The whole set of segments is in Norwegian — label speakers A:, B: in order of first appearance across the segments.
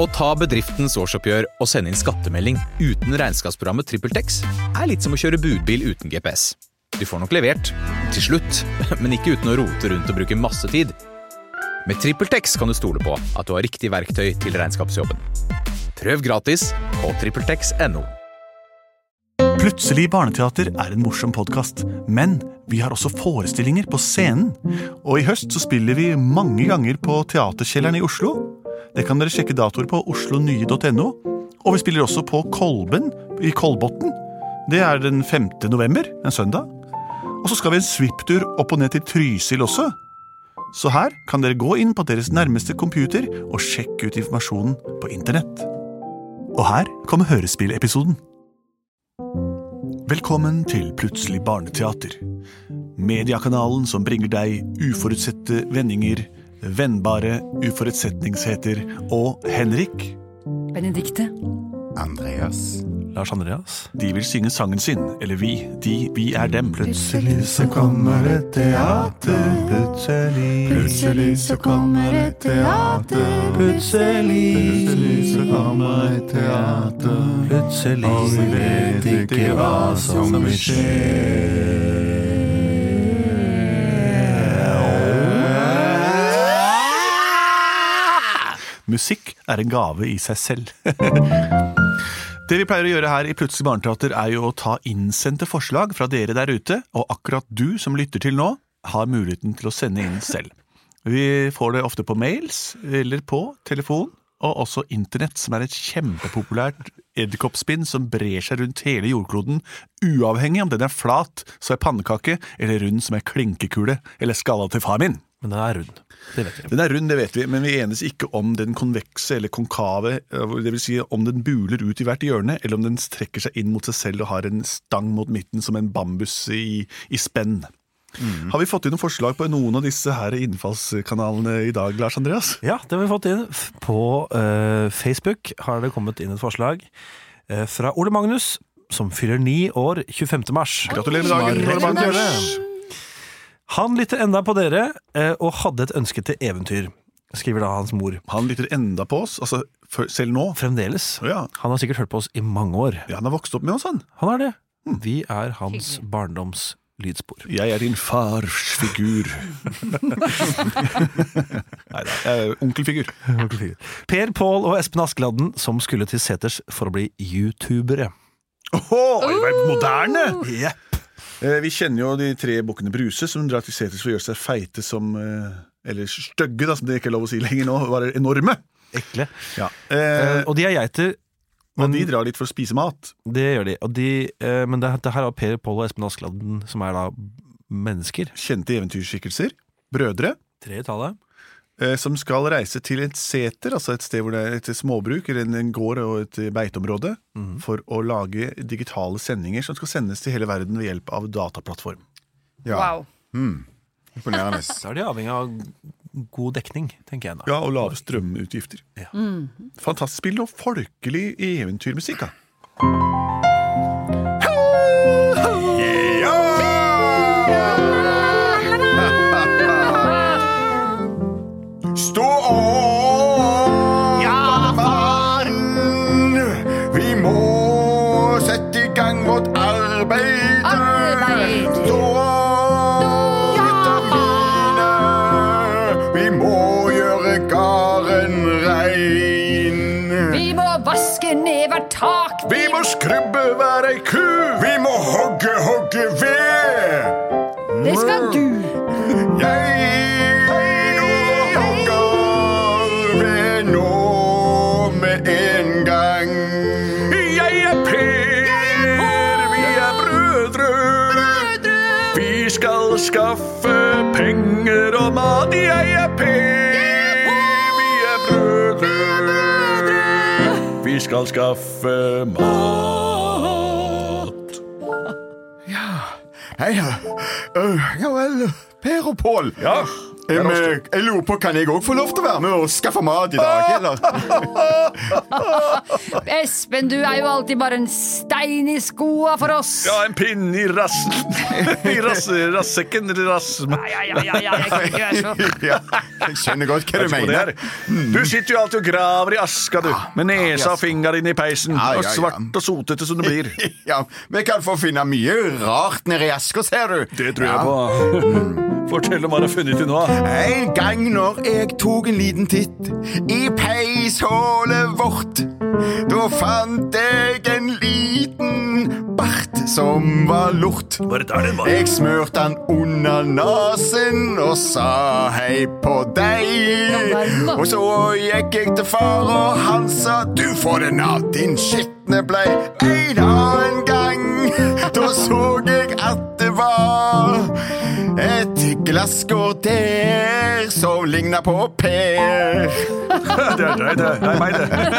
A: Å ta bedriftens årsoppgjør og sende inn skattemelding uten regnskapsprogrammet TrippelTex er litt som å kjøre budbil uten GPS. Du får nok levert, til slutt, men ikke uten å rote rundt og bruke masse tid. Med TrippelTex kan du stole på at du har riktig verktøy til regnskapsjobben. Prøv gratis på TrippelTex.no.
B: Plutselig barneteater er en morsom podkast, men vi har også forestillinger på scenen. Og i høst så spiller vi mange ganger på Teaterkjelleren i Oslo. Det kan dere sjekke datoer på oslonye.no. Og vi spiller også på Kolben i Kolbotn. Det er den 5. november, en søndag. Og så skal vi en svipptur opp og ned til Trysil også. Så her kan dere gå inn på deres nærmeste computer og sjekke ut informasjonen på internett. Og her kommer hørespillepisoden. Velkommen til Plutselig barneteater. Mediakanalen som bringer deg uforutsette vendinger, vennbare uforutsetningsheter og Henrik.
C: Benedikte.
D: Andreas.
B: Lars Andreas. De vil synge sangen sin, eller vi. De, vi er dem.
D: Plutselig så kommer det teater, plutselig. Plutselig så kommer det teater, plutselig. Plutselig så kommer det teater, plutselig. Og vi vet ikke hva som vil skje.
B: Musikk er en gave i seg selv. Det vi pleier å gjøre her i Plutselig barneteater, er jo å ta innsendte forslag fra dere der ute, og akkurat du som lytter til nå, har muligheten til å sende inn selv. Vi får det ofte på mails, eller på telefon, og også internett, som er et kjempepopulært edderkoppspinn som brer seg rundt hele jordkloden, uavhengig om den er flat som ei pannekake, eller rund som ei klinkekule, eller skalla til far min.
E: Men den er rund. Det vet jeg.
B: Den er rund, det vet vi, men vi enes ikke om den konvekse eller konkave, eh, dvs. Si om den buler ut i hvert hjørne, eller om den strekker seg inn mot seg selv og har en stang mot midten som en bambus i, i spenn. Har vi fått inn noen forslag på noen av disse her innfallskanalene i dag, Lars Andreas?
E: Ja, det har vi fått inn. F- På eh, Facebook har det kommet inn et forslag eh, fra Ole Magnus, som fyller ni år 25. mars.
B: Gratulerer med dagen! Ole Magnus.
E: Han lytter enda på dere, eh, og hadde et ønske til eventyr, skriver da hans mor.
B: Han lytter enda på oss, altså før- selv nå.
E: Fremdeles.
B: Ja.
E: Han har sikkert hørt på oss i mange år.
B: Ja, Hmm. Han har vokst opp med oss, han.
E: Han er det. Vi er hans barndoms lydspor.
B: Jeg er din fars figur. Nei da, jeg er onkelfigur.
E: Per Pål og Espen Askeladden som skulle til Seters for å bli youtubere.
B: Åhå, vi er moderne! Eh, Vi kjenner jo de tre bukkene Bruse, som drar til seters for å gjøre seg feite som eh, Eller stygge, da, som det ikke er lov å si lenger nå. Bare enorme.
E: Ekle.
B: Ja. Eh,
E: Eh, og de er geiter,
B: og de drar dit for å spise mat.
E: det gjør de. Og de eh, men det, det her er Per Pål og Espen Askeladden som er da mennesker.
B: Kjente eventyrskikkelser. Brødre.
E: Tre i tallet.
B: eh, Som skal reise til et seter, altså et sted hvor det er et småbruk, eller en- en gård og et beiteområde, for å lage digitale sendinger som skal sendes til hele verden ved hjelp av dataplattform.
D: Ja,
C: Wow.
D: imponerende.
E: Da er de avhengig av god dekning, tenker jeg da.
B: Ja, og lave strømutgifter. Fantastisk. Spill noe folkelig eventyrmusikk, da.
D: Stå opp, alle barn. Vi må sette i gang vårt arbeid.
C: Arbeid.
D: Stå opp, gutter mine. Vi må gjøre gården rein.
C: Vi må vaske ned hvert tak.
D: Vi må skrubbe hver ei ku. Vi må hogge, hogge ved.
C: Det skal du.
D: Jeg hogger ved nå med en gang. Jeg er Per, vi er brødre. Vi skal skaffe penger og mat. Jeg er Per, vi er brødre. Vi skal skaffe mat. Ja, hei da. Øh, ja vel, Per og Pål. Ja. Jeg, men, jeg lurer på, Kan jeg òg få lov til å være med og skaffe mat i dag? eller?
C: Espen, du er jo alltid bare en stein i skoa for oss.
B: Ja, en pinne i rassen. I rasse- rassekken. Rassem.
C: ja, ja, ja, ja, jeg kan ikke være så
D: Ja, jeg skjønner godt hva du
B: Hva det
D: mener.
B: er. Du sitter jo alltid og graver i aska, du. Med nesa og fingra dine i peisen.
D: Ja, ja,
B: Og
D: ja.
B: svart og sotete som du blir.
D: Ja, Vi kan få finne mye rart nede i aska, ser du.
B: Det tror jeg på. Fortell om hva du har funnet til nå.
D: En gang når jeg tok en liten titt i peishålet vårt, da fant jeg en liten bart som var lort. Jeg smurte han under nesen og sa hei på deg. Og så gikk jeg til far, og han sa du får den av din skitne blei. En annen gang da så jeg at det var et glasskår der som ligna på Per.
B: Det er deg, det. Det er meg, det.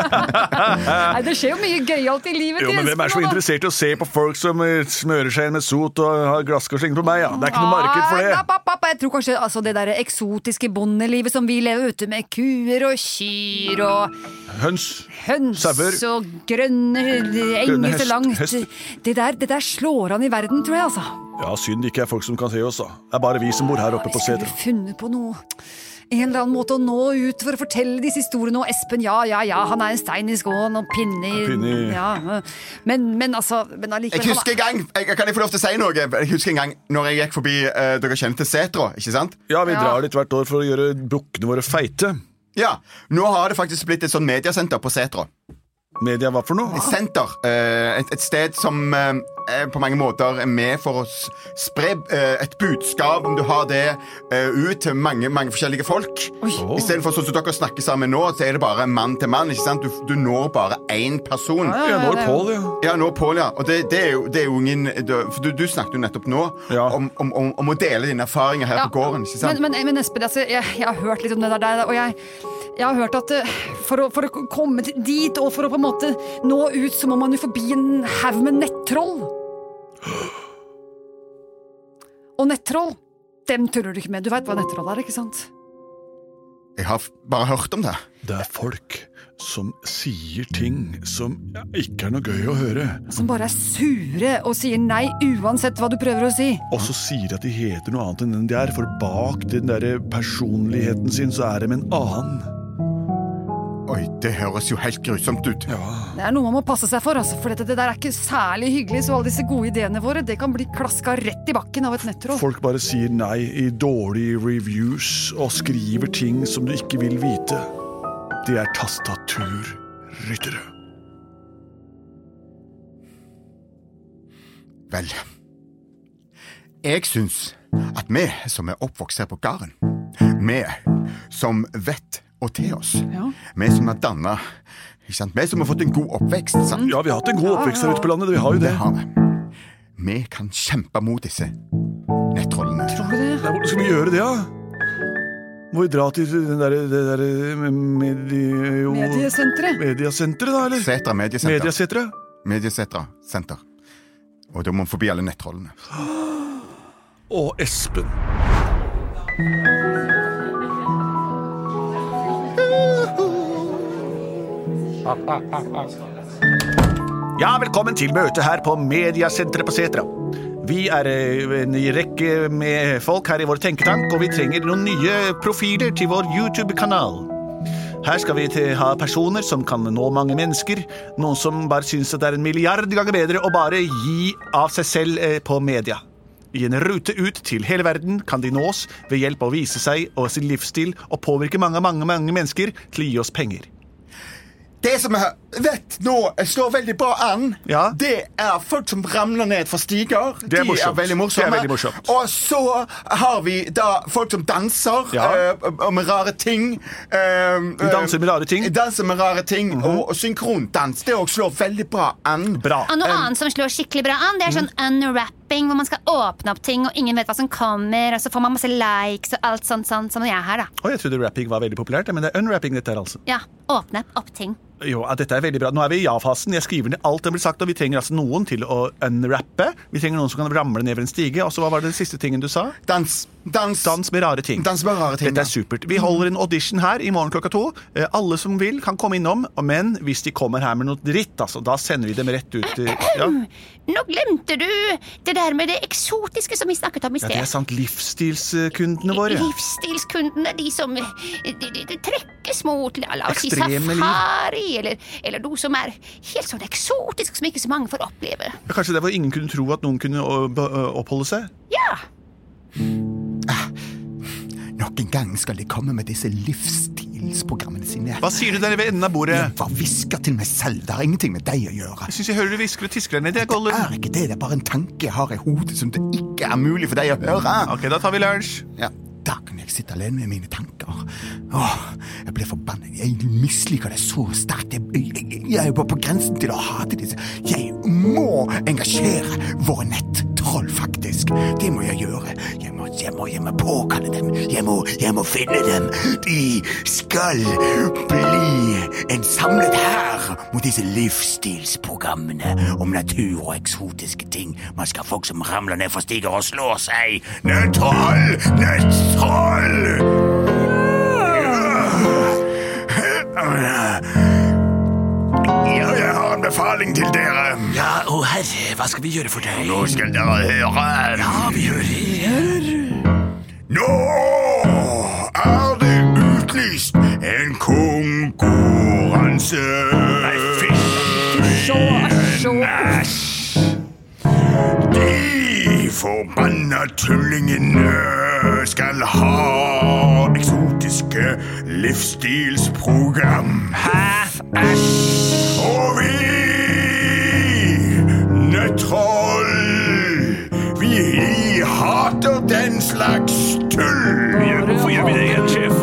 C: Nei, Det skjer jo mye gøyalt i livet
B: Jo,
C: til
B: men Hvem er så
C: Espen, da.
B: interessert i å se på folk som eh, smører seg inn med sot og har glasskår slingende på meg? Ja. Det er ikke noe marked for
C: Ah,
B: det.
C: app, app, app. Jeg tror kanskje altså, det der eksotiske bondelivet som vi lever ute med kuer og kyr og
B: Høns.
C: høns
B: Sauer.
C: og grønne
B: Grønne
C: enger
B: hest-
C: så langt.
B: hester.
C: Det der, det der slår an i verden, tror jeg, altså.
B: Ja, Synd det ikke er folk som kan se oss, da. Det er bare vi som bor her oppe på
C: Vi
B: setra.
C: skulle funnet på noe. En eller annen måte å nå ut for å fortelle disse historiene. Og Espen, ja, ja, ja, han er en stein i skoen og pinne i
B: Pinne i-
C: ja. Men, men altså men allikevel,
D: Jeg husker en gang, jeg, Kan jeg få lov til å si noe? Jeg husker en gang når jeg gikk forbi eh, Dere kjenner til Setra, ikke sant?
B: Ja, vi
C: Ja.
B: drar dit hvert år for å gjøre bukkene våre feite.
D: Ja, Nå har det faktisk blitt et sånn mediasenter på Setra.
B: Media, hva for noe?
D: Et senter. eh, et, et sted som eh, er på mange måter er med for å s- spre eh, et budskap, om du har det, eh, ut til mange, mange forskjellige folk. Istedenfor sånn som dere snakker sammen nå, så er det bare mann til mann. ikke sant? Du, du når bare én person.
B: Jeg når Pål, ja.
D: Ja, nå Paul, ja. Og det, det, er jo, det er jo ingen det- For du, du snakket jo nettopp nå
B: Ja.
D: om, om, om, om å dele dine erfaringer her
C: Ja,
D: på gården. ikke sant?
C: Men, men, men Espen, altså, jeg, jeg har hørt litt om det der, der og jeg, jeg har hørt at eh, for å, for å komme til- dit, og for å på en måte nå ut, så må man jo forbi en haug med nettroll. Og nettroll, dem tuller du ikke med. Du veit hva nettroll er, ikke sant?
D: Jeg har f- bare hørt om det.
B: Det er folk som sier ting som ikke er noe gøy å høre,
C: Som bare er sure og sier nei uansett hva du prøver å si.
B: og så sier de at de heter noe annet enn den de er, for bak den derre personligheten sin så er de en annen.
D: Oi, det høres jo helt grusomt ut.
C: Det er noe man må passe seg for, altså, for dette, det der er ikke særlig hyggelig, så alle disse gode ideene våre, det kan bli klaska rett i bakken av et nettroll.
B: Folk bare sier nei i dårlige reviews og skriver ting som du ikke vil vite. De er tastaturryttere.
D: Vel, jeg syns at vi som er oppvokst her på gården, vi som vet å te oss, vi som er danna, ikke sant? vi som har fått en god oppvekst, sant?
B: Ja, vi har hatt en god oppvekst her ute på landet, vi har jo det.
D: det har vi. Vi kan kjempe mot disse nettrollene.
C: Tror du det?
B: Nei, Hvordan skal vi gjøre det, da? Må vi dra til den der, det der eh, medio...
C: Mediesenteret?
B: Mediasenteret, da, eller?
D: Setra mediesenter.
B: Mediasenteret?
D: Mediesetra senter. Og da må vi forbi alle nettrollene.
B: Og Espen. Ja, velkommen til møte her på Mediasenteret på Setra. Vi er eh, en rekke med folk her i vår tenketank, og vi trenger noen nye profiler til vår YouTube-kanal. Her skal vi til, ha personer som kan nå mange mennesker, noen som bare syns at det er en milliard ganger bedre å bare gi av seg selv eh, på media. I en rute ut til hele verden kan de nås ved hjelp av å vise seg og sin livsstil og påvirke mange, mange, mange mennesker til å gi oss penger.
D: Det som jeg vet nå slår veldig bra an,
B: Ja.
D: det er folk som ramler ned fra stiger.
B: Det er
D: De er
B: morsomt.
D: veldig
B: Det
D: morsomme.
B: er veldig morsomt.
D: Og så har vi da folk som danser
B: Ja.
D: eh, og med rare ting. Ehm, eh,
B: De danser med rare ting. Mhm.
D: Danser med rare ting og, og synkrondans. Det òg slår veldig bra an.
B: Bra.
F: Og Ah, noe annet som slår skikkelig bra an, det er sånn
B: Mm.
F: unwrapping, hvor man skal åpne opp ting, og ingen vet hva som kommer, og så får man masse likes og alt sånt, sånt som jeg er her, da.
B: Og jeg trodde rapping var veldig populært, men det er unwrapping dette her, altså.
F: Ja, åpne opp ting.
B: Jo, ja, dette er veldig bra. Nå er vi i ja-fasen. Jeg skriver ned alt det blir sagt, og vi trenger altså noen til å unwrappe. Vi trenger noen som kan ramle ned ved en stige. Og så hva var det den siste tingen du sa?
D: Dans. Dans.
B: Dans med rare ting.
D: Dans med rare ting,
B: Dette
D: ja.
B: er supert. Vi holder en audition her i morgen klokka to. Eh, Alle som vil, kan komme innom. Men hvis de kommer her med noe dritt, altså, da sender vi dem rett ut. eh, Ja,
F: Nå glemte du det der med det eksotiske som vi snakket om i
B: ja det er
F: sted.
B: sant. Livsstilskundene våre.
F: Livsstilskundene, de som eh, de, de, de trekkes mot la, la oss si
B: Ekstreme liv.
F: safari, eller, eller noe som er helt sånn eksotisk som ikke så mange får oppleve.
B: Ja, Kanskje det var ingen kunne tro at noen kunne å, be- å, oppholde seg?
F: Ja!
D: Nok en gang skal de komme med disse livsstilsprogrammene sine.
B: Hva sier du der ved enden av bordet?
D: Jeg bare hvisker til meg selv. Det har ingenting med deg å gjøre.
B: Jeg syns jeg hører du hvisker og tisker der nede.
D: Det
B: Golden.
D: er ikke det. Det er bare en tanke jeg har i hodet som det ikke er mulig for deg å høre.
B: Ok, da tar vi lunsj.
D: Ja, da kan jeg sitte alene med mine tanker. Åh, jeg blir forbannet. Jeg misliker det så sterkt. Jeg, jeg, jeg er jo bare på grensen til å hate disse. Jeg må engasjere våre nettroll, faktisk. Det må jeg gjøre. Jeg må, jeg må, jeg må påkalle dem. Jeg må, jeg må finne dem. De skal bli en samlet hær mot disse livsstilsprogrammene om natur og eksotiske ting. Man skal ha folk som ramler ned fra stiger og slår seg. Nøttroll! Nøttroll! Ja, jeg har en befaling til dere. Ja, å herre, hva skal vi gjøre for deg? Nå skal dere høre. Ja, vi hører. Nå er det utlyst en konkurranse. Nei, fysj!
C: Så, så.
D: De forbanna tullingene skal ha eksotiske livsstilsprogram. Hæ? Æsj! Og vi nøttroll Vi hater den slags tull.
C: Hvorfor gjør vi det
D: igjen, sjef?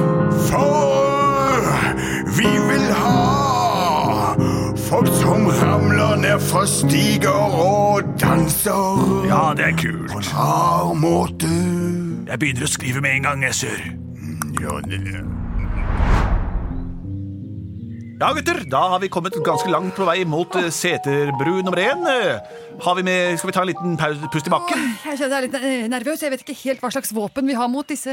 D: For vi vil ha folk som ramler ned fra stiger og danser. Ja, det er kult. På en rar måte. Jeg begynner å skrive med en gang, jeg, sør. Ja, det er.
B: Ja, gutter, da har vi kommet ganske langt på vei mot eh, Seterbru nummer én. Eh, Har vi med, skal vi ta en liten pause, pust i bakken?
C: Jeg kjenner jeg er litt eh, nervøs. Jeg vet ikke helt hva slags våpen vi har mot disse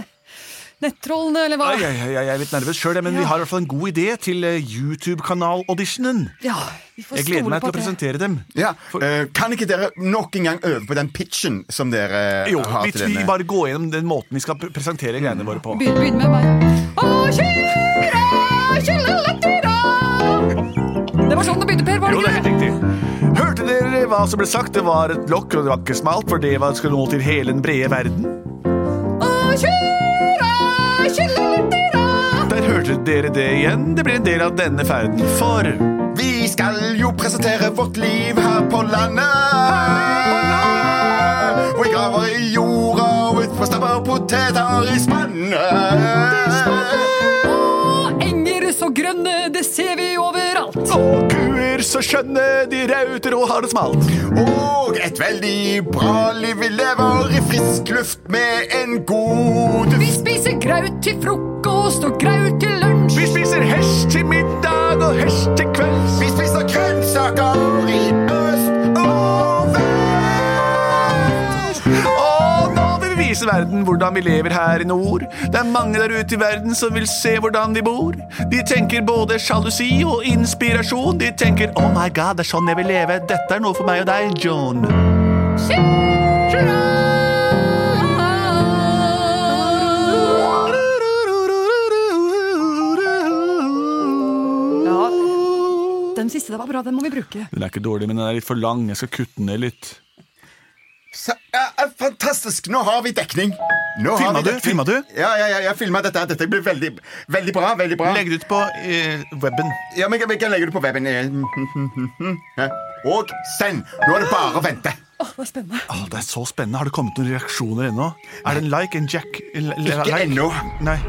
C: nettrollene, eller hva.
B: Ai, ai, ai, jeg er litt nervøs sjøl, men vi har i hvert fall en god idé til eh, YouTube-kanal-auditionen.
C: Ja, vi får
B: Jeg gleder
C: stole
B: meg til å
C: på at det-
B: presentere dem.
G: Ja, eh, Kan ikke dere nok en gang øve på den pitchen som dere
B: Jo,
G: har
B: vi,
G: til
B: vi
G: denne?
B: bare går gjennom den måten vi skal pre- presentere greiene våre på.
C: Begynn, begynn med meg. Å, kjøra, kjøla, Det var sånn det begynte, Per. Var
B: Jo, det er
C: det
B: helt
C: ikke?
B: riktig. Hørte dere hva som ble sagt? Det var et lokk, og det var ikke smalt, for det var skal nå til hele den brede verden.
C: Å, kjøra, kjøla,
B: Der hørte dere det igjen. Det blir en del av denne ferden, for
G: Vi skal jo presentere vårt liv her på landet. Og jeg graver i jorda og utfor stabber poteter i spannet.
C: Og enger så grønne, det ser vi overalt.
B: Og kuer så skjønne, de rauter og har det smalt.
G: Og et veldig bra liv vi lever i frisk luft med en god
C: Vi spiser graut til frokost og graut til lunsj.
B: Vi spiser hesj til middag og hesj til kvelds.
G: Vi spiser grønnsaker i øst og vest.
B: Og nå vil vi vise verden hvordan vi lever her i nord. Det er mange der ute i verden som vil se hvordan vi bor. De tenker både sjalusi og inspirasjon. De tenker 'Oh my God, det er sånn jeg vil leve'. Dette er noe for meg og deg, John.
C: Ja, den siste der var bra. Den må vi bruke.
B: Den er ikke dårlig, men den er litt for lang. Jeg skal kutte den ned litt.
G: Så- ja, ja, Fantastisk! Nå har vi dekning. Nå
B: Filma
G: har vi
B: du?
G: dekning.
B: Filma du?
G: Ja, ja, ja, jeg filma dette. her. Dette blir veldig, veldig bra. veldig bra
B: Legg det ut på eh, weben.
G: Ja, men Jeg kan legge det på weben. Ja. Og send! Nå er det bare å vente.
C: Å, det var spennende.
B: Å, det er så spennende. Har det kommet noen reaksjoner ennå? Er det en like, en jack? en l-
G: Ikke
B: like?
G: ennå.
B: Nei.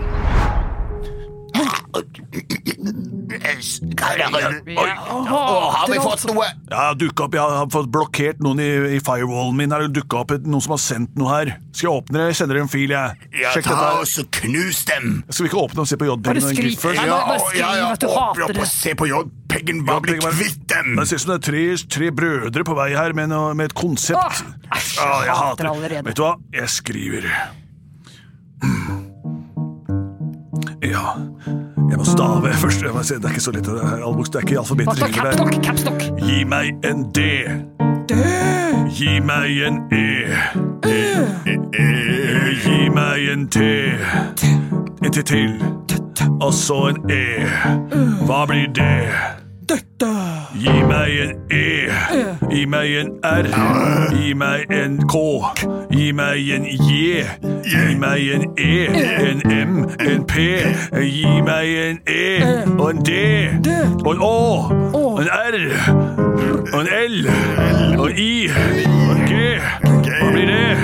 G: Har vi fått noe?
B: Jeg har dukket opp, jeg har fått blokkert noen i, i firewallen min. Her har det dukket opp et- noen som har sendt noe her. Skal jeg åpne det? Jeg sender dere en fil, jeg.
G: Ja,
B: Sjekk dette.
G: ta
B: her.
G: og så knus dem.
B: Skal vi ikke åpne og se på
C: Bare
B: JPEG og en
C: skryt.
B: gif først?
C: Nei, bare- bare skriv at du hater
G: åpne opp
C: det.
G: og se på J-peggen. Bare bli
B: JPEG, bare-
G: kvitt dem.
B: Det ser ut som det er tre, tre brødre på vei her med, noe, med et konsept.
C: Åh, æsj, jeg
B: Ja,
C: hater det allerede.
B: Vet du hva? Jeg skriver. Mm. Ja. Jeg må stave først. Jeg må se, det er ikke så lett. Det er, all bokst- det er ikke alfabetet.
C: Capstock, capstock, capstock.
B: Gi meg en D. Gi meg en E. E. E. Gi meg en T. En T til. Og så en E. Hva blir det? Gi meg en E. Gi meg en R. Gi meg en K. Gi meg en J. Gi meg en E. En M. En P. Gi meg en E. Og en D. Og en Å. Og en R. Og en L. Og en I. Og en G. Hva blir det?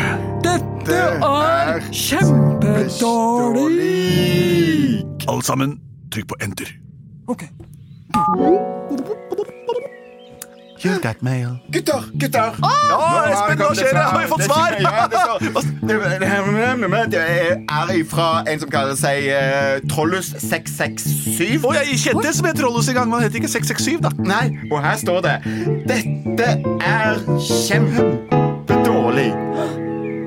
D: Det er kjempedårlig.
B: Alle sammen, trykk på enter.
H: You got mail.
D: Gutter, gutter!
I: Ja, Espen, nå skjer det! Har vi fått svar?
D: Ja, det står- Det er ifra en som kaller seg eh, Trollus667.
I: Å, jeg kjente det som het Trollus i gang, men han het ikke 667, da.
D: Nei, og her står det Dette er kjempedårlig.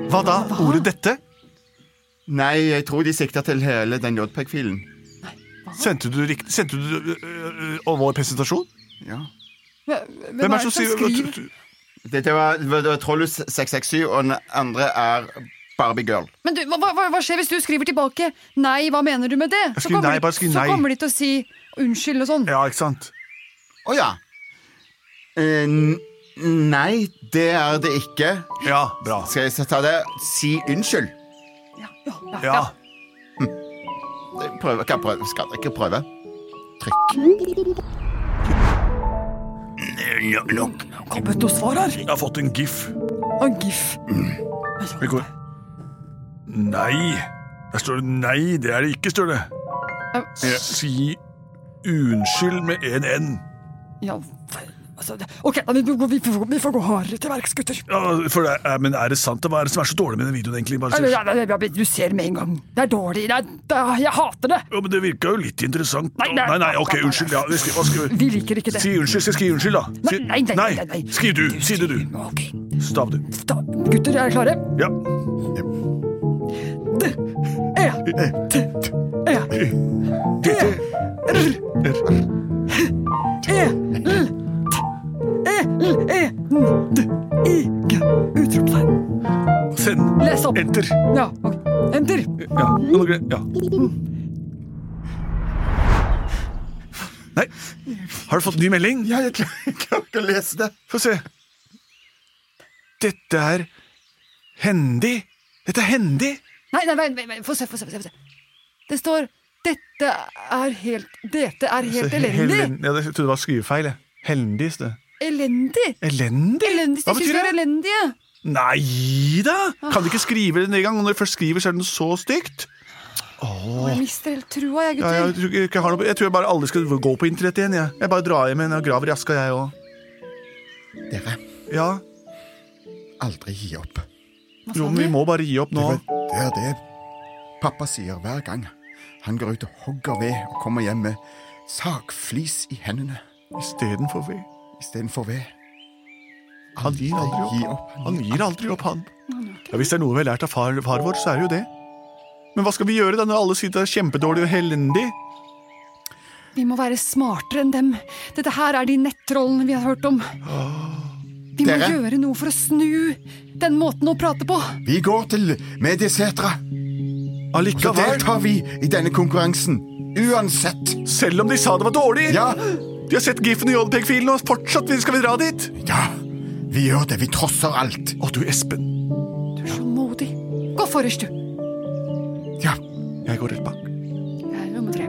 I: Hva da? Ordet dette?
D: Nei, jeg tror de sikter til hele den JPEG-filen.
I: Sendte du, rikt- sendte du øh, øh, om vår presentasjon?
D: Ja.
I: Hvem
C: er det som skriver?
D: Dette var, det var Trollus667, og den andre er Barbiegirl.
C: Men du, hva, hva, hva skjer hvis du skriver tilbake 'nei, hva mener du med det'?
I: skriver
C: kommer
I: nei,
C: de-
I: bare skriv
C: så
I: nei.
C: kommer de til å si unnskyld og sånn.
I: Ja, ikke sant?
D: Å ja. Eh, n- nei, det er det ikke.
I: Ja, bra.
D: Skal jeg ta det? Si unnskyld.
C: Ja, ja, ja,
I: Ja.
D: Prøv, kan jeg prøve? Skal jeg ikke prøve?
B: Ja, nok.
C: Kommet noe svar her?
B: Jeg har fått en gif.
C: Og en gif.
B: Det går- Nei. Der står det nei. Det er det ikke, står det. Si unnskyld med en N.
C: Ja, vel, altså, det- ok, da, vi, går- vi, får, vi får gå hardere til verks, gutter.
B: Ja, for det er, men er det sant? Hva er det som er så dårlig med den videoen, egentlig? Bare,
C: Eller,
B: sier-
C: ja, ja, ja, du ser med en gang. Det er dårlig. Det er, det er, jeg hater det.
B: ja, men det virka jo litt interessant.
C: Nei, nei,
B: nei, nei ok,
C: nei, nei.
B: unnskyld. Ja, vi skriver, hva skriver.
C: Vi liker ikke det.
B: Si unnskyld. Skal jeg skrive unnskyld, da?
C: Nei,
B: Si-
C: nei, nei, nei, nei.
B: Skriv du. Si det, du.
C: Ok,
B: Stav du.
C: da, gutter, er dere klare?
B: Ja.
C: E, t, e,
B: Dette
C: E, L, T, E, L, E, N, D, I, G, utropstegn.
B: Send.
C: Les opp.
B: Enter.
C: Ja, ok. Enter.
B: Ja. nå er det- ja. Nei. Har du fått ny melding?
D: Ja, jeg klarer ikke å lese det.
B: Få se. Dette er hendig. Dette er hendig.
C: Nei, nei, vent, vent, vent. få se, få se, få se, få se. Det står 'Dette er helt Dette er helt elendig'.
B: Helen- Ja, jeg trodde det var skrivefeil. jeg. Hendig i sted.
C: Elendig?
B: Elendig?
C: Elendig,
B: Hva
C: Jeg syns vi
B: betyr
C: er
B: det?
C: elendige.
B: Nei da! Kan du ikke skrive det en gang? og Når du først skriver, så er det noe så stygt.
C: Å, Jeg mister helt trua, jeg,
B: Ja, jeg,
C: gutter.
B: tror ikke jeg, har noe, jeg tror jeg bare aldri skal gå på internett igjen. Jeg, jeg bare drar hjem igjen og graver i aska, jeg òg.
D: Dere,
B: Ja.
D: aldri gi opp.
B: Jo, men vi må bare gi opp nå.
D: Det er det pappa sier hver gang han går ut og hogger ved og kommer hjem med sagflis i hendene
B: Istedenfor vi.
D: istedenfor ved.
B: Han gir aldri
D: Gi
B: opp.
D: opp.
B: Han gir aldri opp, han. Ja, Hvis det er noe vi har lært av far, far vår, så er det jo det. Men hva skal vi gjøre da når alle sier det er kjempedårlig og elendig?
C: Vi må være smartere enn dem. Dette her er de nettrollene vi har hørt om. Vi må
D: Dere?
C: gjøre noe for å snu den måten å prate på.
D: Vi går til Mediesetra, så
B: Allikevel,
D: deltar vi i denne konkurransen. Uansett.
B: selv om de sa det var dårlig!
D: Ja,
B: De har sett giffen i JPEG-filen, og fortsatt skal vi dra dit!
D: ja. Vi gjør det. Vi trosser alt.
B: Å, du Espen.
C: Du er så modig. Gå forrest, du.
D: Ja.
B: Jeg går rett bak.
C: Jeg er nummer tre.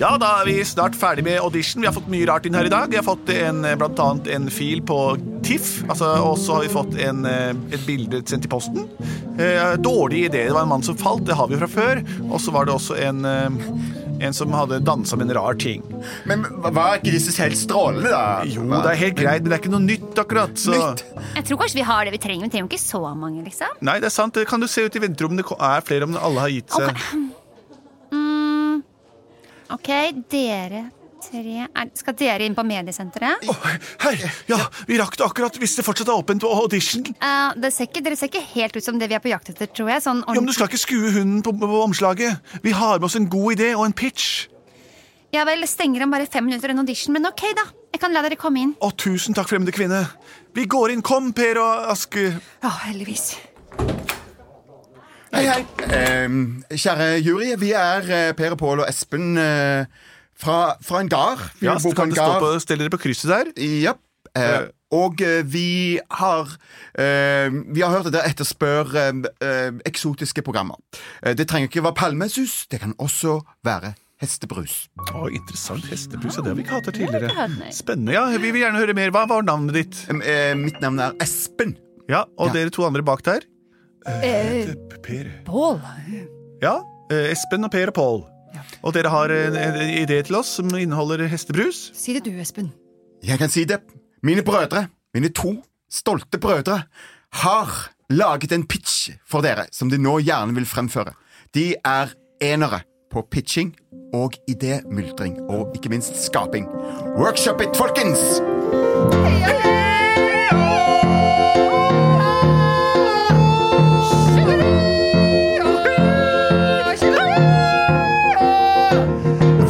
I: Ja, da er vi snart ferdig med audition. Vi har fått mye rart inn her i dag. Vi har fått en, eh, blant annet en fil på TIFF, altså, og så har vi fått en, eh, et bilde sendt i posten. Eh, dårlig idé. Det var en mann som falt, det har vi jo fra før. Og så var det også en, eh, en som hadde dansa med en rar ting.
D: Men var ikke disse helt strålende, da?
I: Jo, det er helt greit, men det er ikke noe nytt akkurat. Så.
D: Nytt?
F: Jeg tror kanskje vi har det vi trenger. Vi trenger jo ikke så mange, liksom.
I: Nei, det er sant. Kan du se ut i venterommet? Det er flere om alle har gitt seg.
F: Ok, dere Tre er, Skal dere inn på mediesenteret?
B: Hei, ja, vi rakk det akkurat hvis det fortsatt er åpent på audition.
F: Eh, det ser ikke, dere ser ikke helt ut som det vi er på jakt etter, tror jeg. Sånn
B: Ja, men
F: ordentlig.
B: du skal ikke skue hunden på, på omslaget. Vi har med oss en god idé og en pitch.
F: Ja vel, stenger om bare fem minutter en audition, men ok, da. Jeg kan la dere komme inn.
B: Å, tusen takk, fremmede kvinne. Vi går inn. Kom, Per og Aske.
C: Ja, heldigvis.
D: Hei, hei. Ehm, kjære jury, vi er eh, Per og Pål og Espen eh, fra, fra en gard. Vi
B: Ja,
D: bor på
B: kan
D: en
B: det stå
D: gard.
B: på, stell dere på krysset der.
D: Japp. Eh, og eh, vi har eh, Vi har hørt at dere etterspør eh, eh, eksotiske programmer. Eh, det trenger ikke være palmesus, det kan også være hestebrus.
B: Å, interessant hestebrus. ja, Det har vi ikke hatt her
F: har vi ikke hatt, nei.
B: tidligere. Spennende. ja, Vi vil gjerne høre mer. Hva var navnet ditt?
D: Em, eh, mitt navn er Espen.
B: Ja, Og
D: Ja.
B: dere to andre bak der?
C: Eh,
B: Per.
C: Pål?
B: Ja, eh, Espen og Per og Pål. Og dere har en, en idé til oss som inneholder hestebrus?
C: Si det du, Espen.
D: Jeg kan si det. Mine brødre, mine to stolte brødre, har laget en pitch for dere som de nå gjerne vil fremføre. De er enere på pitching og idémyldring, og ikke minst skaping. Workshop it, folkens!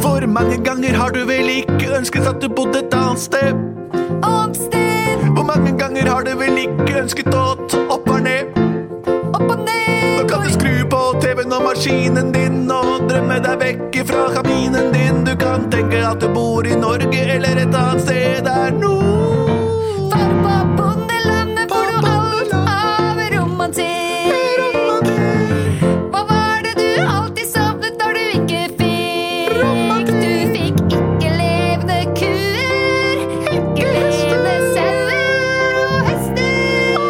B: Hvor mange ganger har du vel ikke ønsket at du bodde et annet sted?
C: Annet sted,
B: Hvor mange ganger har du vel ikke ønsket å ta opp og ned?
C: opp og ned.
B: Nå kan du skru på TV-en og maskinen din og drømme deg vekk fra kabinen din. Du kan tenke at du bor i Norge eller et annet sted der nord.
C: Far på bondelandet får du alt av romantikk. Hva var det du alltid savnet når du ikke fikk? Du fikk ikke levende kuer, ikke levende sauer og hester.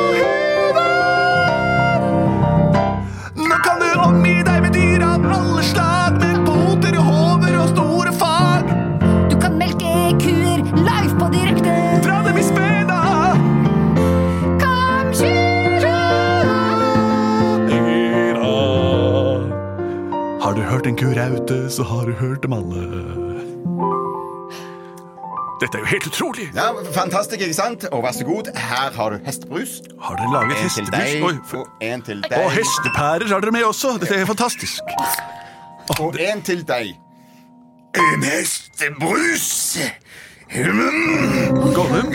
B: Nå kan du omgi deg med dyr av alle slag, med poter og hover og store fag.
C: Du kan melke kuer live på direkte.
B: Dra dem i spena.
C: Kom, kjøre!
B: Har du hørt en kuraute, så har du hørt dem alle. Dette er jo helt utrolig.
D: Ja, Fantastisk, ikke sant? Og vær så god, her har du hestebrus.
B: Har dere laget
D: En Eh, til deg,
B: hestebrus? Oi, for-
D: og en til
B: Og
D: deg,
B: hestepærer har dere med også. Dette er fantastisk.
D: og en til deg. En hestebrus! Mm.
B: Gollum,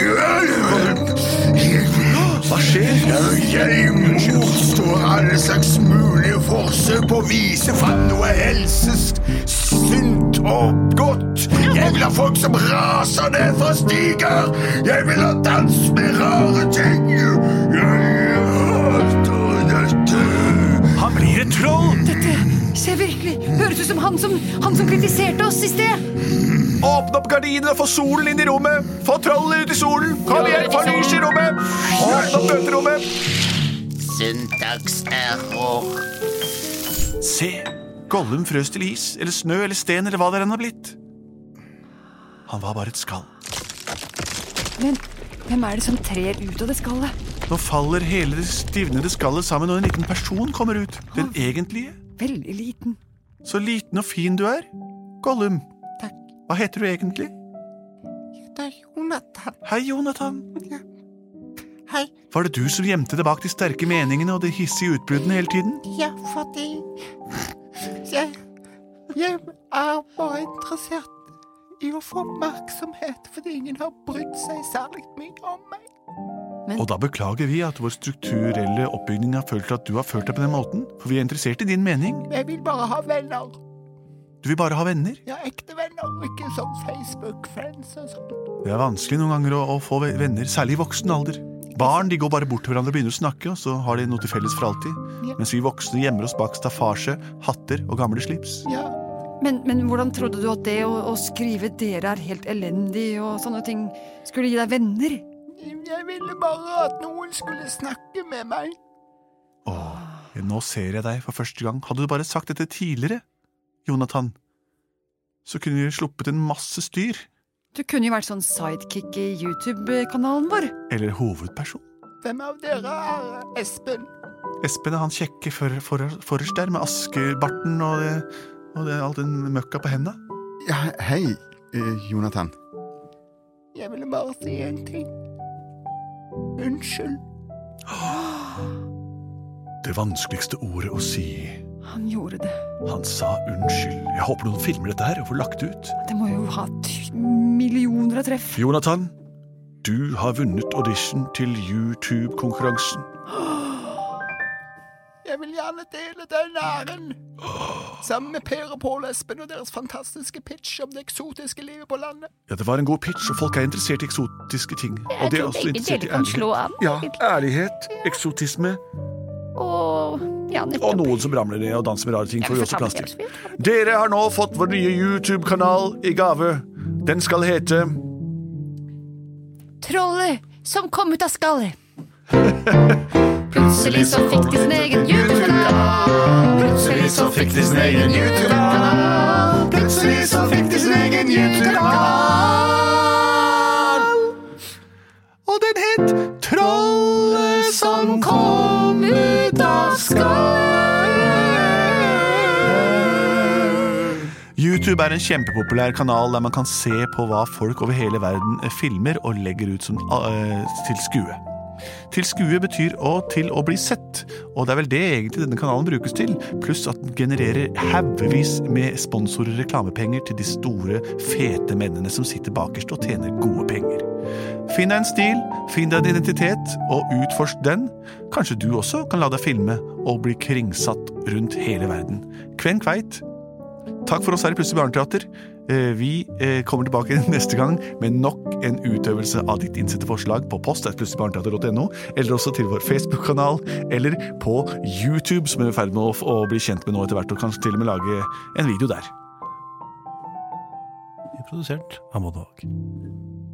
B: hva skjer?
D: Når Jeg motstår alle slags mulige forsøk på å vise fram noe helsesk, sunt og godt. Jeg vil ha folk som raser ned fra stiger. Jeg vil ha dans med rare ting. Jeg hater dette.
B: Han blir et troll!
C: Dette ser virkelig Høres ut som han som, han som kritiserte oss i sted.
B: Åpne opp gardinene og få solen inn i rommet! Få trollet ut i solen! Kom igjen, få lys i rommet! Åpne opp møterommet! Se! Gollum frøs til is, eller snø, eller sten, eller hva det enn har blitt. Han var bare et skall.
C: Men hvem er det som trer ut av det skallet?
B: Nå faller hele det stivnede skallet sammen, og en liten person kommer ut. Den egentlige.
C: Veldig liten.
B: Så liten og fin du er. Gollum.
D: Takk.
B: Hva heter du egentlig?
D: Det er Jonathan.
B: Hei, Jonathan.
D: Hei.
B: Var det du som gjemte deg bak de sterke meningene og de hissige utbruddene hele tiden?
D: Ja, fordi jeg, jeg er bare interessert i å få oppmerksomhet, fordi ingen har brydd seg særlig mye om meg.
B: Og da beklager vi at vår strukturelle oppbygning har følt til at du har følt deg på den måten, for vi er interessert i din mening.
D: Jeg vil bare ha venner.
B: Du vil bare ha venner.
D: Ja, ekte venner, og ikke sånn Facebook-friends og sånn.
B: Det er vanskelig noen ganger å, å få ve- venner, særlig i voksen alder. Barn de går bare bort til hverandre og begynner å snakke, og så har de noe til felles for alltid.
D: Ja.
B: Mens vi voksne gjemmer oss bak staffasje, hatter og gamle slips.
D: Ja,
C: Men, men hvordan trodde du at det å, å skrive 'dere er helt elendig' og sånne ting skulle gi deg venner?
D: jeg ville bare at noen skulle snakke med meg.
B: Åh, nå ser jeg deg for første gang. Hadde du bare sagt dette tidligere, Jonathan, så kunne vi sluppet en masse styr.
C: Du kunne jo vært sånn sidekick i YouTube-kanalen vår.
B: Eller hovedperson.
D: Hvem av dere er Espen?
B: Espen er han kjekke for, for, forrest der, med askebarten og, det- og det, all den møkka på henda.
D: Ja, hei.
J: Eh, Jonathan. Jeg ville bare si én ting. Unnskyld.
K: Det vanskeligste ordet å si.
C: Han gjorde det.
K: Han sa unnskyld. Jeg håper noen filmer dette her og får lagt det ut.
C: Det må jo ha ty- millioner av treff.
K: Jonathan, du har vunnet audition til YouTube-konkurransen.
J: Jeg vil gjerne dele den æren. Sammen med Per og Pål Espen og deres fantastiske pitch om det eksotiske livet på landet.
K: Ja, det var en god pitch, og folk er interessert i eksotiske ting. Og de er også
C: Begge
K: interessert i
C: deler kan
K: ærlighet.
C: slå an.
K: Ja, ærlighet, eksotisme
C: Og ja,
K: og
C: nettopp.
K: noen som ramler ned og danser med rare ting,
C: Ja,
K: får vi
C: vi
K: også
C: får
K: plass
C: ta med
K: til.
C: det.
K: Dere har nå fått vår nye YouTube-kanal i gave. Den skal hete
F: Trollet som kom ut av skallet. Plutselig så fikk de sin egen YouTube-kanal.
J: Plutselig så fikk de sin egen YouTube-kanal. Plutselig så fikk de sin egen YouTube-kanal.
K: Og den het Trollet som kom ut av skallet.
B: YouTube er en kjempepopulær kanal der man kan se på hva folk over hele verden filmer og legger ut som, eh, til skue. Til skue betyr å til å bli sett, og det er vel det egentlig denne kanalen brukes til, pluss at den genererer haugevis med sponsorer og reklamepenger til de store, fete mennene som sitter bakerst og tjener gode penger. Finn deg en stil, finn deg en identitet, og utforsk den. Kanskje du også kan la deg filme og bli kringsatt rundt hele verden. Kven kveit, Takk for oss her i Plutselig barneteater. Eh, Vi eh, kommer tilbake neste gang med nok en utøvelse av ditt innsendte forslag på post plutseligbarneteater.no, eller også til vår Facebook-kanal, eller på YouTube, som vi er i ferd med å, f- å bli kjent med nå etter hvert, og kanskje til og med lage en video der.
E: Produsert av Både og.